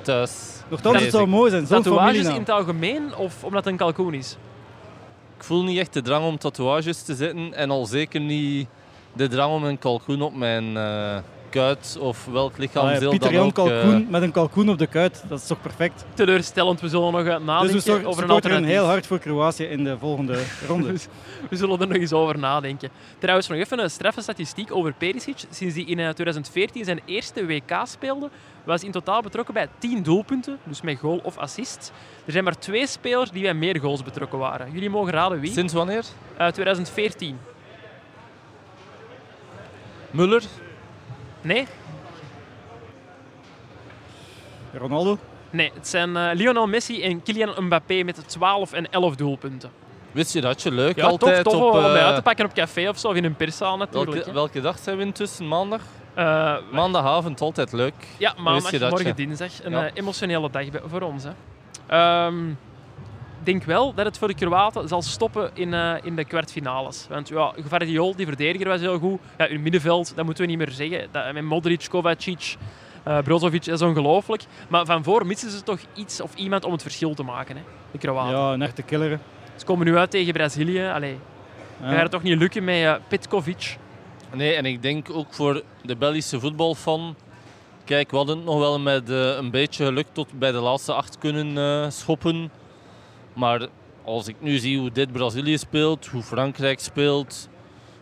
[SPEAKER 4] thuis.
[SPEAKER 5] Nochtans, het
[SPEAKER 4] Vrees
[SPEAKER 5] zou
[SPEAKER 4] ik.
[SPEAKER 5] mooi zijn, zo'n nou.
[SPEAKER 1] Tatoeages
[SPEAKER 5] familienaam.
[SPEAKER 1] in het algemeen of omdat het een kalkoen is?
[SPEAKER 4] Ik voel niet echt de drang om tatoeages te zetten en al zeker niet de drang om een kalkoen op mijn eh, kuit of welk
[SPEAKER 5] Ah, ja,
[SPEAKER 4] lichaamsdeel
[SPEAKER 5] Pieter
[SPEAKER 4] dan
[SPEAKER 5] Jan
[SPEAKER 4] ook.
[SPEAKER 5] kalkoen
[SPEAKER 4] eh,
[SPEAKER 5] met een kalkoen op de kuit, dat is toch perfect?
[SPEAKER 1] Teleurstellend, we zullen nog eh,
[SPEAKER 5] Dus
[SPEAKER 1] nadenken
[SPEAKER 5] we sor-
[SPEAKER 1] over een
[SPEAKER 5] supporteren
[SPEAKER 1] alternatief. Dus-
[SPEAKER 5] heel hard voor Kroatië in de volgende ronde.
[SPEAKER 1] We zullen er nog eens over nadenken. Trouwens, nog even een straffe statistiek over Perisic. Sinds hij in eh, 2014 zijn eerste WK speelde, was hij in totaal betrokken bij 10 doelpunten, dus met goal of assist. Er zijn maar twee spelers die bij meer goals betrokken waren. Jullie mogen raden wie?
[SPEAKER 4] Sinds wanneer?
[SPEAKER 1] Eh, 2014.
[SPEAKER 4] Muller?
[SPEAKER 1] Nee?
[SPEAKER 5] Ronaldo,
[SPEAKER 1] Nee, het zijn eh, Lionel Messi en Kylian Mbappé met 12 en 11 doelpunten.
[SPEAKER 4] Wist je dat je leuk
[SPEAKER 1] Ja,
[SPEAKER 4] altijd
[SPEAKER 1] tof, tof
[SPEAKER 4] op...
[SPEAKER 1] om
[SPEAKER 4] eh,
[SPEAKER 1] bij uit te pakken op café of zo, of in een perszaal natuurlijk.
[SPEAKER 4] welke,
[SPEAKER 1] hè.
[SPEAKER 4] welke dag zijn we intussen? Maandag?
[SPEAKER 1] Eh,
[SPEAKER 4] Maandagavond, altijd leuk.
[SPEAKER 1] Ja,
[SPEAKER 4] Wist je
[SPEAKER 1] maandag,
[SPEAKER 4] dat,
[SPEAKER 1] morgen
[SPEAKER 4] ja?
[SPEAKER 1] dinsdag. Een
[SPEAKER 4] Ja.
[SPEAKER 1] eh, emotionele dag bij- voor ons. Hè. Ehm, ik denk wel dat het voor de Kroaten zal stoppen in, eh, in de kwartfinales. Want ja, Gvardiol, die verdediger, was heel goed. Ja, hun middenveld, dat moeten we niet meer zeggen. Dat, eh, met Modric, Kovacic, eh, Brozovic, dat is ongelooflijk. Maar van voor missen ze toch iets of iemand om het verschil te maken, hè, de Kroaten.
[SPEAKER 5] ja, een echte killer. hè.
[SPEAKER 1] Ah. Ze komen nu uit tegen Brazilië. Allee,
[SPEAKER 5] Ja.
[SPEAKER 1] gaat het toch niet lukken met eh, Petkovic?
[SPEAKER 4] Nee, en ik denk ook voor de Belgische voetbalfan. Kijk, we hadden het nog wel met eh, een beetje geluk tot bij de laatste acht kunnen eh, schoppen. Maar als ik nu zie hoe dit Brazilië speelt, hoe Frankrijk speelt,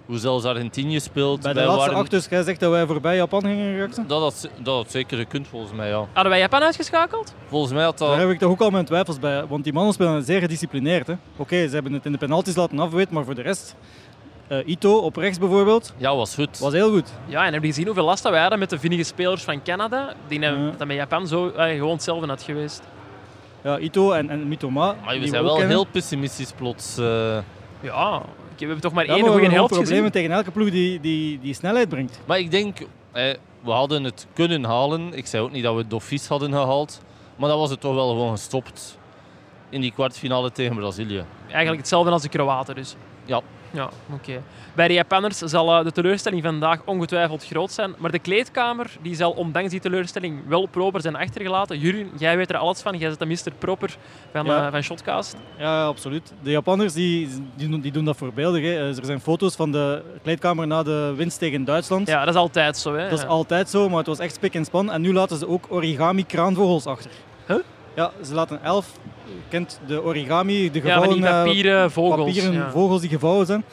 [SPEAKER 4] hoe zelfs Argentinië speelt.
[SPEAKER 5] Bij de
[SPEAKER 4] wij
[SPEAKER 5] laatste
[SPEAKER 4] waren-
[SPEAKER 5] acht dus, jij zegt dat wij voorbij Japan gingen raken?
[SPEAKER 4] Dat had, dat had zeker gekund volgens mij, ja.
[SPEAKER 1] Hadden wij Japan uitgeschakeld?
[SPEAKER 4] Volgens mij had
[SPEAKER 5] Daar
[SPEAKER 4] dat...
[SPEAKER 5] heb ik toch ook al mijn twijfels bij, want die mannen spelen zeer gedisciplineerd. hè. Oké, ze hebben het in de penalties laten afweten, maar voor de rest... eh, Ito op rechts bijvoorbeeld,
[SPEAKER 4] Ja, was goed.
[SPEAKER 5] was heel goed.
[SPEAKER 1] Ja, en heb je gezien hoeveel last dat wij hadden met de vinnige spelers van Canada? Die hebben
[SPEAKER 5] Ja.
[SPEAKER 1] dat met Japan zo eh, gewoon hetzelfde had geweest.
[SPEAKER 5] Ja, Ito en, en Mitoma.
[SPEAKER 4] Maar
[SPEAKER 5] die
[SPEAKER 4] we
[SPEAKER 5] we
[SPEAKER 4] zijn
[SPEAKER 5] ook
[SPEAKER 4] wel
[SPEAKER 5] kennen.
[SPEAKER 4] heel pessimistisch plots. eh.
[SPEAKER 1] Ja, ik- we hebben toch maar
[SPEAKER 5] Ja, maar
[SPEAKER 1] één goede
[SPEAKER 5] we hebben wel
[SPEAKER 1] helft gezien.
[SPEAKER 5] problemen tegen elke ploeg die, die, die snelheid brengt.
[SPEAKER 4] Maar ik denk, eh, we hadden het kunnen halen. Ik zei ook niet dat we Dofies hadden gehaald. Maar dan was het toch wel gewoon gestopt in die kwartfinale tegen Brazilië.
[SPEAKER 1] Eigenlijk hetzelfde als de Kroaten dus.
[SPEAKER 4] Ja.
[SPEAKER 1] Ja, oké. Bij de Japanners zal eh, de teleurstelling vandaag ongetwijfeld groot zijn. Maar de kleedkamer die zal ondanks die teleurstelling wel proper zijn achtergelaten. Jurien, jij weet er alles van. Jij bent de mister proper van,
[SPEAKER 5] Ja.
[SPEAKER 1] eh, van Shotcast.
[SPEAKER 5] Ja, ja, absoluut. De Japanners die, die, doen, die doen dat voorbeeldig. Hè. Eh, Er zijn foto's van de kleedkamer na de winst tegen Duitsland.
[SPEAKER 1] Ja, dat is altijd zo. Hè.
[SPEAKER 5] Dat is
[SPEAKER 1] Ja.
[SPEAKER 5] altijd zo, maar het was echt spik en span. En nu laten ze ook origami kraanvogels achter.
[SPEAKER 1] Huh?
[SPEAKER 5] Ja, ze laten elf. Je kent de origami, de
[SPEAKER 1] ja, van
[SPEAKER 5] gevouwen
[SPEAKER 1] die
[SPEAKER 5] eh,
[SPEAKER 1] papieren vogels.
[SPEAKER 5] papieren
[SPEAKER 1] ja.
[SPEAKER 5] vogels die gevouwen zijn.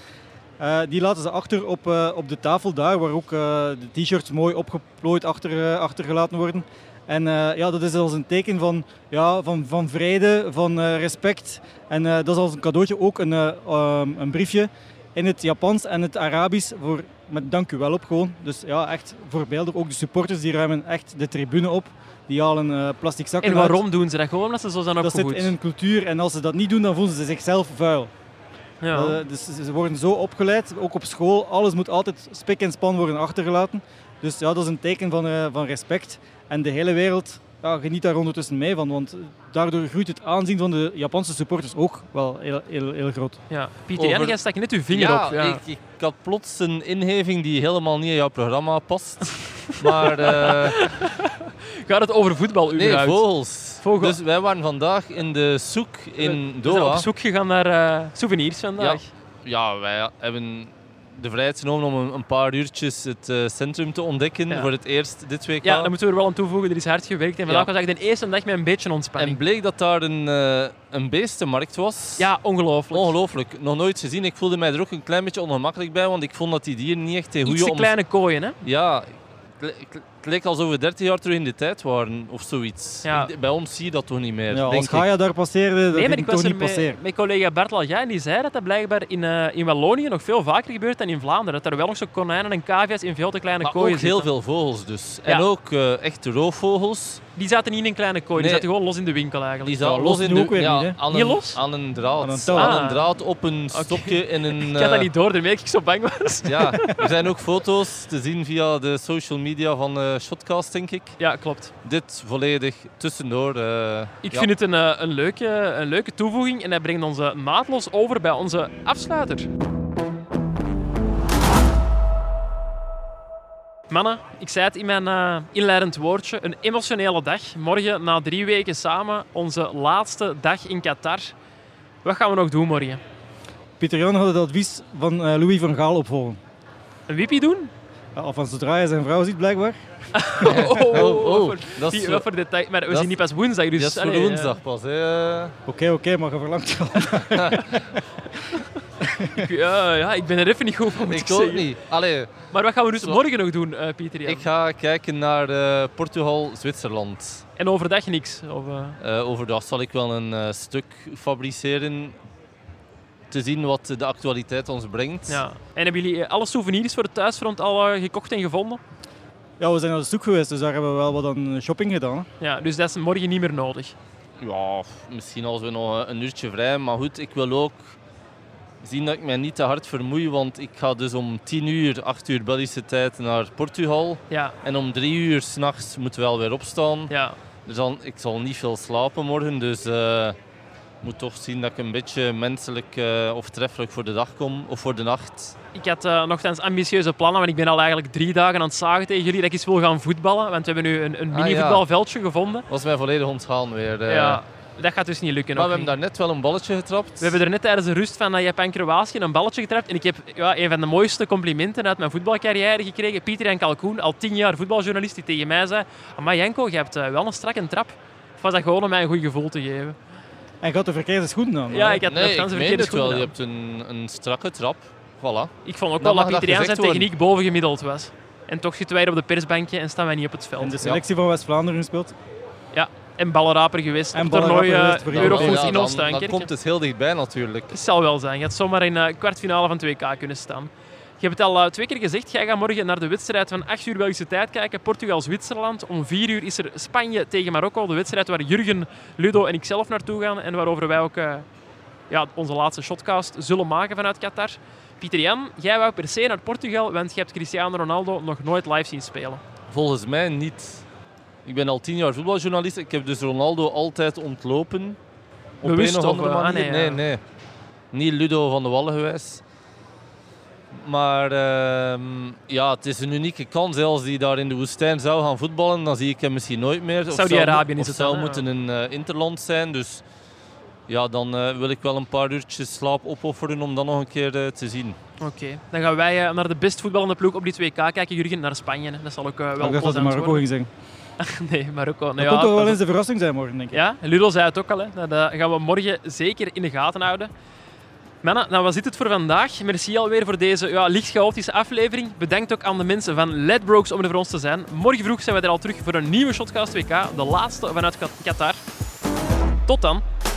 [SPEAKER 5] Eh, die laten ze achter op, eh, op de tafel daar, waar ook eh, de t-shirts mooi opgeplooid achter, eh, achtergelaten worden. En eh, ja, dat is als een teken van, ja, van, van vrede, van eh, respect. En eh, dat is als een cadeautje ook een, eh, ehm, een briefje in het Japans en het Arabisch voor met dank u wel op gewoon. Dus ja, echt voorbeeldig. Ook de supporters die ruimen echt de tribune op. Die halen eh, plastic zakken
[SPEAKER 1] En
[SPEAKER 5] uit.
[SPEAKER 1] waarom doen ze dat? Gewoon omdat ze zo zijn
[SPEAKER 5] Dat zit
[SPEAKER 1] opgevoed.
[SPEAKER 5] in hun cultuur en als ze dat niet doen, dan voelen ze zichzelf vuil.
[SPEAKER 1] Ja.
[SPEAKER 5] Eh, dus ze ze worden zo opgeleid, ook op school. Alles moet altijd spik en span worden achtergelaten. Dus ja, dat is een teken van, eh, van respect. En de hele wereld ja, geniet daar ondertussen mee van. Want daardoor groeit het aanzien van de Japanse supporters ook wel heel, heel, heel groot.
[SPEAKER 1] ja. Pieter
[SPEAKER 4] over-
[SPEAKER 1] Jan, jij stak net uw vinger
[SPEAKER 4] ja,
[SPEAKER 1] op. Ja.
[SPEAKER 4] Ik, ik had plots een inheving die helemaal niet in jouw programma past. maar eh,
[SPEAKER 1] Gaat het over voetbal
[SPEAKER 4] nee,
[SPEAKER 1] überhaupt?
[SPEAKER 4] vogels.
[SPEAKER 1] Vogel-
[SPEAKER 4] Dus wij waren vandaag in de soek in
[SPEAKER 1] We zijn op
[SPEAKER 4] Doha.
[SPEAKER 1] zoek gegaan naar eh, souvenirs vandaag.
[SPEAKER 4] Ja, wij hebben de vrijheid genomen om een- een paar uurtjes het eh, centrum te ontdekken.
[SPEAKER 1] Ja.
[SPEAKER 4] Voor het eerst dit week.
[SPEAKER 1] Ja, dan moeten we er wel aan toevoegen. Er is hard gewerkt. En vandaag
[SPEAKER 4] Ja.
[SPEAKER 1] was eigenlijk de eerste dag met een beetje
[SPEAKER 4] En
[SPEAKER 1] ontspanning.
[SPEAKER 4] bleek dat daar een, eh, een beestenmarkt was.
[SPEAKER 1] Ja, ongelooflijk.
[SPEAKER 4] Ongelooflijk, nog nooit gezien. Ik voelde mij er ook een klein beetje ongemakkelijk bij, want ik vond dat die dieren niet echt in
[SPEAKER 1] Iets
[SPEAKER 4] goede
[SPEAKER 1] te
[SPEAKER 4] om-
[SPEAKER 1] kleine kooien, hè?
[SPEAKER 4] Ja, het le- het leek alsof we 30 jaar terug in de tijd waren of zoiets.
[SPEAKER 1] Ja.
[SPEAKER 4] Ik- Bij ons zie je dat toch niet meer.
[SPEAKER 5] Ja,
[SPEAKER 4] denk
[SPEAKER 5] als
[SPEAKER 4] ik.
[SPEAKER 5] Gaia daar passeerde, dat
[SPEAKER 1] Nee, maar
[SPEAKER 5] ging
[SPEAKER 1] ik
[SPEAKER 5] toch
[SPEAKER 1] was er
[SPEAKER 5] niet
[SPEAKER 1] met,
[SPEAKER 5] passeren.
[SPEAKER 1] met collega Bert Lalga en die zei dat dat blijkbaar in, eh, in Wallonië nog veel vaker gebeurt dan in Vlaanderen. Dat er wel nog zo konijnen en cavia's in veel te kleine
[SPEAKER 4] Maar ook
[SPEAKER 1] kooien
[SPEAKER 4] heel
[SPEAKER 1] zitten.
[SPEAKER 4] veel vogels dus.
[SPEAKER 1] Ja.
[SPEAKER 4] En ook echt echte roofvogels.
[SPEAKER 1] Die zaten niet in een kleine kooi, die
[SPEAKER 4] Nee.
[SPEAKER 1] zaten gewoon los in de winkel eigenlijk.
[SPEAKER 4] Die zaten
[SPEAKER 5] los
[SPEAKER 4] los in
[SPEAKER 5] nu
[SPEAKER 4] de
[SPEAKER 5] ook weer
[SPEAKER 4] ja,
[SPEAKER 5] niet, hè?
[SPEAKER 4] aan,
[SPEAKER 1] Niet
[SPEAKER 4] een,
[SPEAKER 1] los?
[SPEAKER 4] aan een draad.
[SPEAKER 5] Aan een touw.
[SPEAKER 4] Aan
[SPEAKER 1] Ah.
[SPEAKER 4] een draad op een stokje in een...
[SPEAKER 1] Ik had dat
[SPEAKER 4] eh,
[SPEAKER 1] niet door, daarmee dat ik zo bang was.
[SPEAKER 4] Ja, er zijn ook foto's te zien via de social media van eh, Shotcast, denk ik.
[SPEAKER 1] Ja, klopt.
[SPEAKER 4] Dit volledig tussendoor. eh,
[SPEAKER 1] Ik
[SPEAKER 4] ja.
[SPEAKER 1] vind het een, eh, een, leuke, een leuke toevoeging en dat brengt ons eh, naadloos over bij onze afsluiter. Mannen, ik zei het in mijn eh, inleidend woordje, een emotionele dag. Morgen, na drie weken samen, onze laatste dag in Qatar. Wat gaan we nog doen morgen?
[SPEAKER 5] Pieter Jan had het advies van eh, Louis van Gaal opvolgen.
[SPEAKER 1] Een wiepie doen?
[SPEAKER 5] Ja, althans, zodra hij zijn vrouw ziet, blijkbaar.
[SPEAKER 1] Oh, oh, oh,
[SPEAKER 4] Oh, oh,
[SPEAKER 1] wat voor-
[SPEAKER 4] dat
[SPEAKER 1] die-
[SPEAKER 4] is
[SPEAKER 1] wat voor detail. Maar we
[SPEAKER 4] dat
[SPEAKER 1] zien
[SPEAKER 4] is-
[SPEAKER 1] niet pas woensdag, dus...
[SPEAKER 4] Dat is voor
[SPEAKER 1] allee, eh,
[SPEAKER 4] woensdag pas. Hè.
[SPEAKER 5] Oké, oké, maar je verlangt wel.
[SPEAKER 1] ik, ja, ja, ik ben er even niet goed van, moet ik,
[SPEAKER 4] Ik ook
[SPEAKER 1] zeggen.
[SPEAKER 4] niet. Allee,
[SPEAKER 1] Maar wat gaan we dus
[SPEAKER 4] Zo.
[SPEAKER 1] morgen nog doen, eh, Pieter Jan?
[SPEAKER 4] ik ga kijken naar eh, Portugal-Zwitserland.
[SPEAKER 1] En overdag niks? Of, eh,
[SPEAKER 4] Eh, overdag zal ik wel een eh, stuk fabriceren. Te zien wat de actualiteit ons brengt.
[SPEAKER 1] ja. En hebben jullie eh, alle souvenirs voor het thuisfront al eh, gekocht en gevonden?
[SPEAKER 5] Ja, we zijn naar de zoek geweest, dus daar hebben we wel wat aan shopping gedaan. hè.
[SPEAKER 1] Ja, dus dat is morgen niet meer nodig.
[SPEAKER 4] Ja, f- misschien als we nog eh, een uurtje vrij hebben. Maar goed, ik wil ook zien dat ik mij niet te hard vermoei. Want ik ga dus om 10 uur, 8 uur Belgische tijd naar Portugal.
[SPEAKER 1] Ja,
[SPEAKER 4] En om 3 uur s'nachts moeten we alweer opstaan.
[SPEAKER 1] ja.
[SPEAKER 4] Dus dan, ik zal niet veel slapen morgen. Dus eh, ik moet toch zien dat ik een beetje menselijk eh, of treffelijk voor de dag kom. Of voor de nacht.
[SPEAKER 1] Ik had eh nogthans ambitieuze plannen, want ik ben al eigenlijk drie dagen aan het zagen tegen jullie dat ik eens wil gaan voetballen. Want we hebben nu een, een
[SPEAKER 4] Ah,
[SPEAKER 1] mini-voetbalveldje gevonden.
[SPEAKER 4] was mij volledig ontgaan weer. eh.
[SPEAKER 1] Ja, dat gaat dus niet lukken.
[SPEAKER 4] Maar
[SPEAKER 1] ook
[SPEAKER 4] we hebben
[SPEAKER 1] niet.
[SPEAKER 4] daar net wel een balletje getrapt.
[SPEAKER 1] We hebben er net tijdens de rust van eh, Japan-Kroatië een balletje getrapt. En ik heb ja, een van de mooiste complimenten uit mijn voetbalcarrière gekregen. Pieter en Kalkoen, al tien jaar voetbaljournalist, die tegen mij zei... Maar Janko, je hebt eh, wel een strakke trap. Of was dat gewoon om mij een goed gevoel te geven?
[SPEAKER 5] En gaat de verkeerde schoenen aan.
[SPEAKER 1] Ja, ik had
[SPEAKER 4] nee,
[SPEAKER 1] net
[SPEAKER 4] ik
[SPEAKER 1] Frans
[SPEAKER 4] meen
[SPEAKER 1] verkeerde
[SPEAKER 4] het wel.
[SPEAKER 1] schoenen
[SPEAKER 4] Je
[SPEAKER 1] aan.
[SPEAKER 4] hebt een, een strakke trap. Voilà.
[SPEAKER 1] Ik vond ook wel dat
[SPEAKER 4] Dan mag dat
[SPEAKER 1] Pietriaan zijn
[SPEAKER 4] gezegd
[SPEAKER 1] techniek bovengemiddeld was. En toch zitten wij er op de persbankje en staan wij niet op het
[SPEAKER 5] En
[SPEAKER 1] veld.
[SPEAKER 5] de selectie van West-Vlaanderen gespeeld.
[SPEAKER 1] Ja, en ballenraper geweest.
[SPEAKER 5] En
[SPEAKER 1] op het toernooi
[SPEAKER 5] ballenraper
[SPEAKER 1] eh,
[SPEAKER 5] geweest voor
[SPEAKER 1] Eurofoons
[SPEAKER 5] Europees.
[SPEAKER 1] in
[SPEAKER 4] dan,
[SPEAKER 1] ons tuinkerk.
[SPEAKER 4] dan komt het heel dichtbij natuurlijk.
[SPEAKER 1] Het zal wel zijn. Je had zomaar in de kwartfinale van 2K kunnen staan. Je hebt het al eh, twee keer gezegd. Jij gaat morgen naar de wedstrijd van 8 uur Belgische tijd kijken. Portugal-Zwitserland. Om 4 uur is er Spanje tegen Marokko. De wedstrijd waar Jurgen, Ludo en ik zelf naartoe gaan. En waarover wij ook eh, ja, onze laatste shotcast zullen maken vanuit Qatar. Pieter Jan, jij wou per se naar Portugal, want je hebt Cristiano Ronaldo nog nooit live zien spelen.
[SPEAKER 4] Volgens mij niet. Ik ben al tien jaar voetbaljournalist. Ik heb dus Ronaldo altijd ontlopen. Op
[SPEAKER 1] Bewust
[SPEAKER 4] een of
[SPEAKER 1] of,
[SPEAKER 4] andere
[SPEAKER 1] eh, ah,
[SPEAKER 4] manier.
[SPEAKER 1] nee,
[SPEAKER 4] nee,
[SPEAKER 1] ja.
[SPEAKER 4] nee. Niet Ludo van de Wallen geweest. Maar ehm, ja, het is een unieke kans. hè. Als die daar in de woestijn zou gaan voetballen, dan zie ik hem misschien nooit meer. Of
[SPEAKER 1] Saudi-Arabië is
[SPEAKER 4] zou- of
[SPEAKER 1] het
[SPEAKER 4] zou
[SPEAKER 1] dan, hè,
[SPEAKER 4] moeten een eh, interland zijn. Dus ja, dan eh, wil ik wel een paar uurtjes slaap opofferen om dat nog een keer eh, te zien.
[SPEAKER 1] Oké, dan gaan wij eh, naar de best voetballende ploeg op die 2K kijken. Jurgen, naar Spanje. hè. Dat zal ook eh, wel
[SPEAKER 5] Ik dacht dat
[SPEAKER 1] plezant
[SPEAKER 5] ze Marokko
[SPEAKER 1] worden.
[SPEAKER 5] ging zeggen.
[SPEAKER 1] Nee, Marokko. Nou
[SPEAKER 5] Dat
[SPEAKER 1] ja,
[SPEAKER 5] komt toch
[SPEAKER 1] pas
[SPEAKER 5] wel eens de verrassing zijn morgen, denk ik.
[SPEAKER 1] Ja, Ludo zei het ook al. Hè. Dat eh, gaan we morgen zeker in de gaten houden. Mannen, nou, was dit het voor vandaag? Merci alweer voor deze ja, licht chaotische aflevering. Bedankt ook aan de mensen van Ledbrokes om er voor ons te zijn. Morgen vroeg zijn we er al terug voor een nieuwe Shotcast WK, de laatste vanuit Kat- Qatar. Tot dan.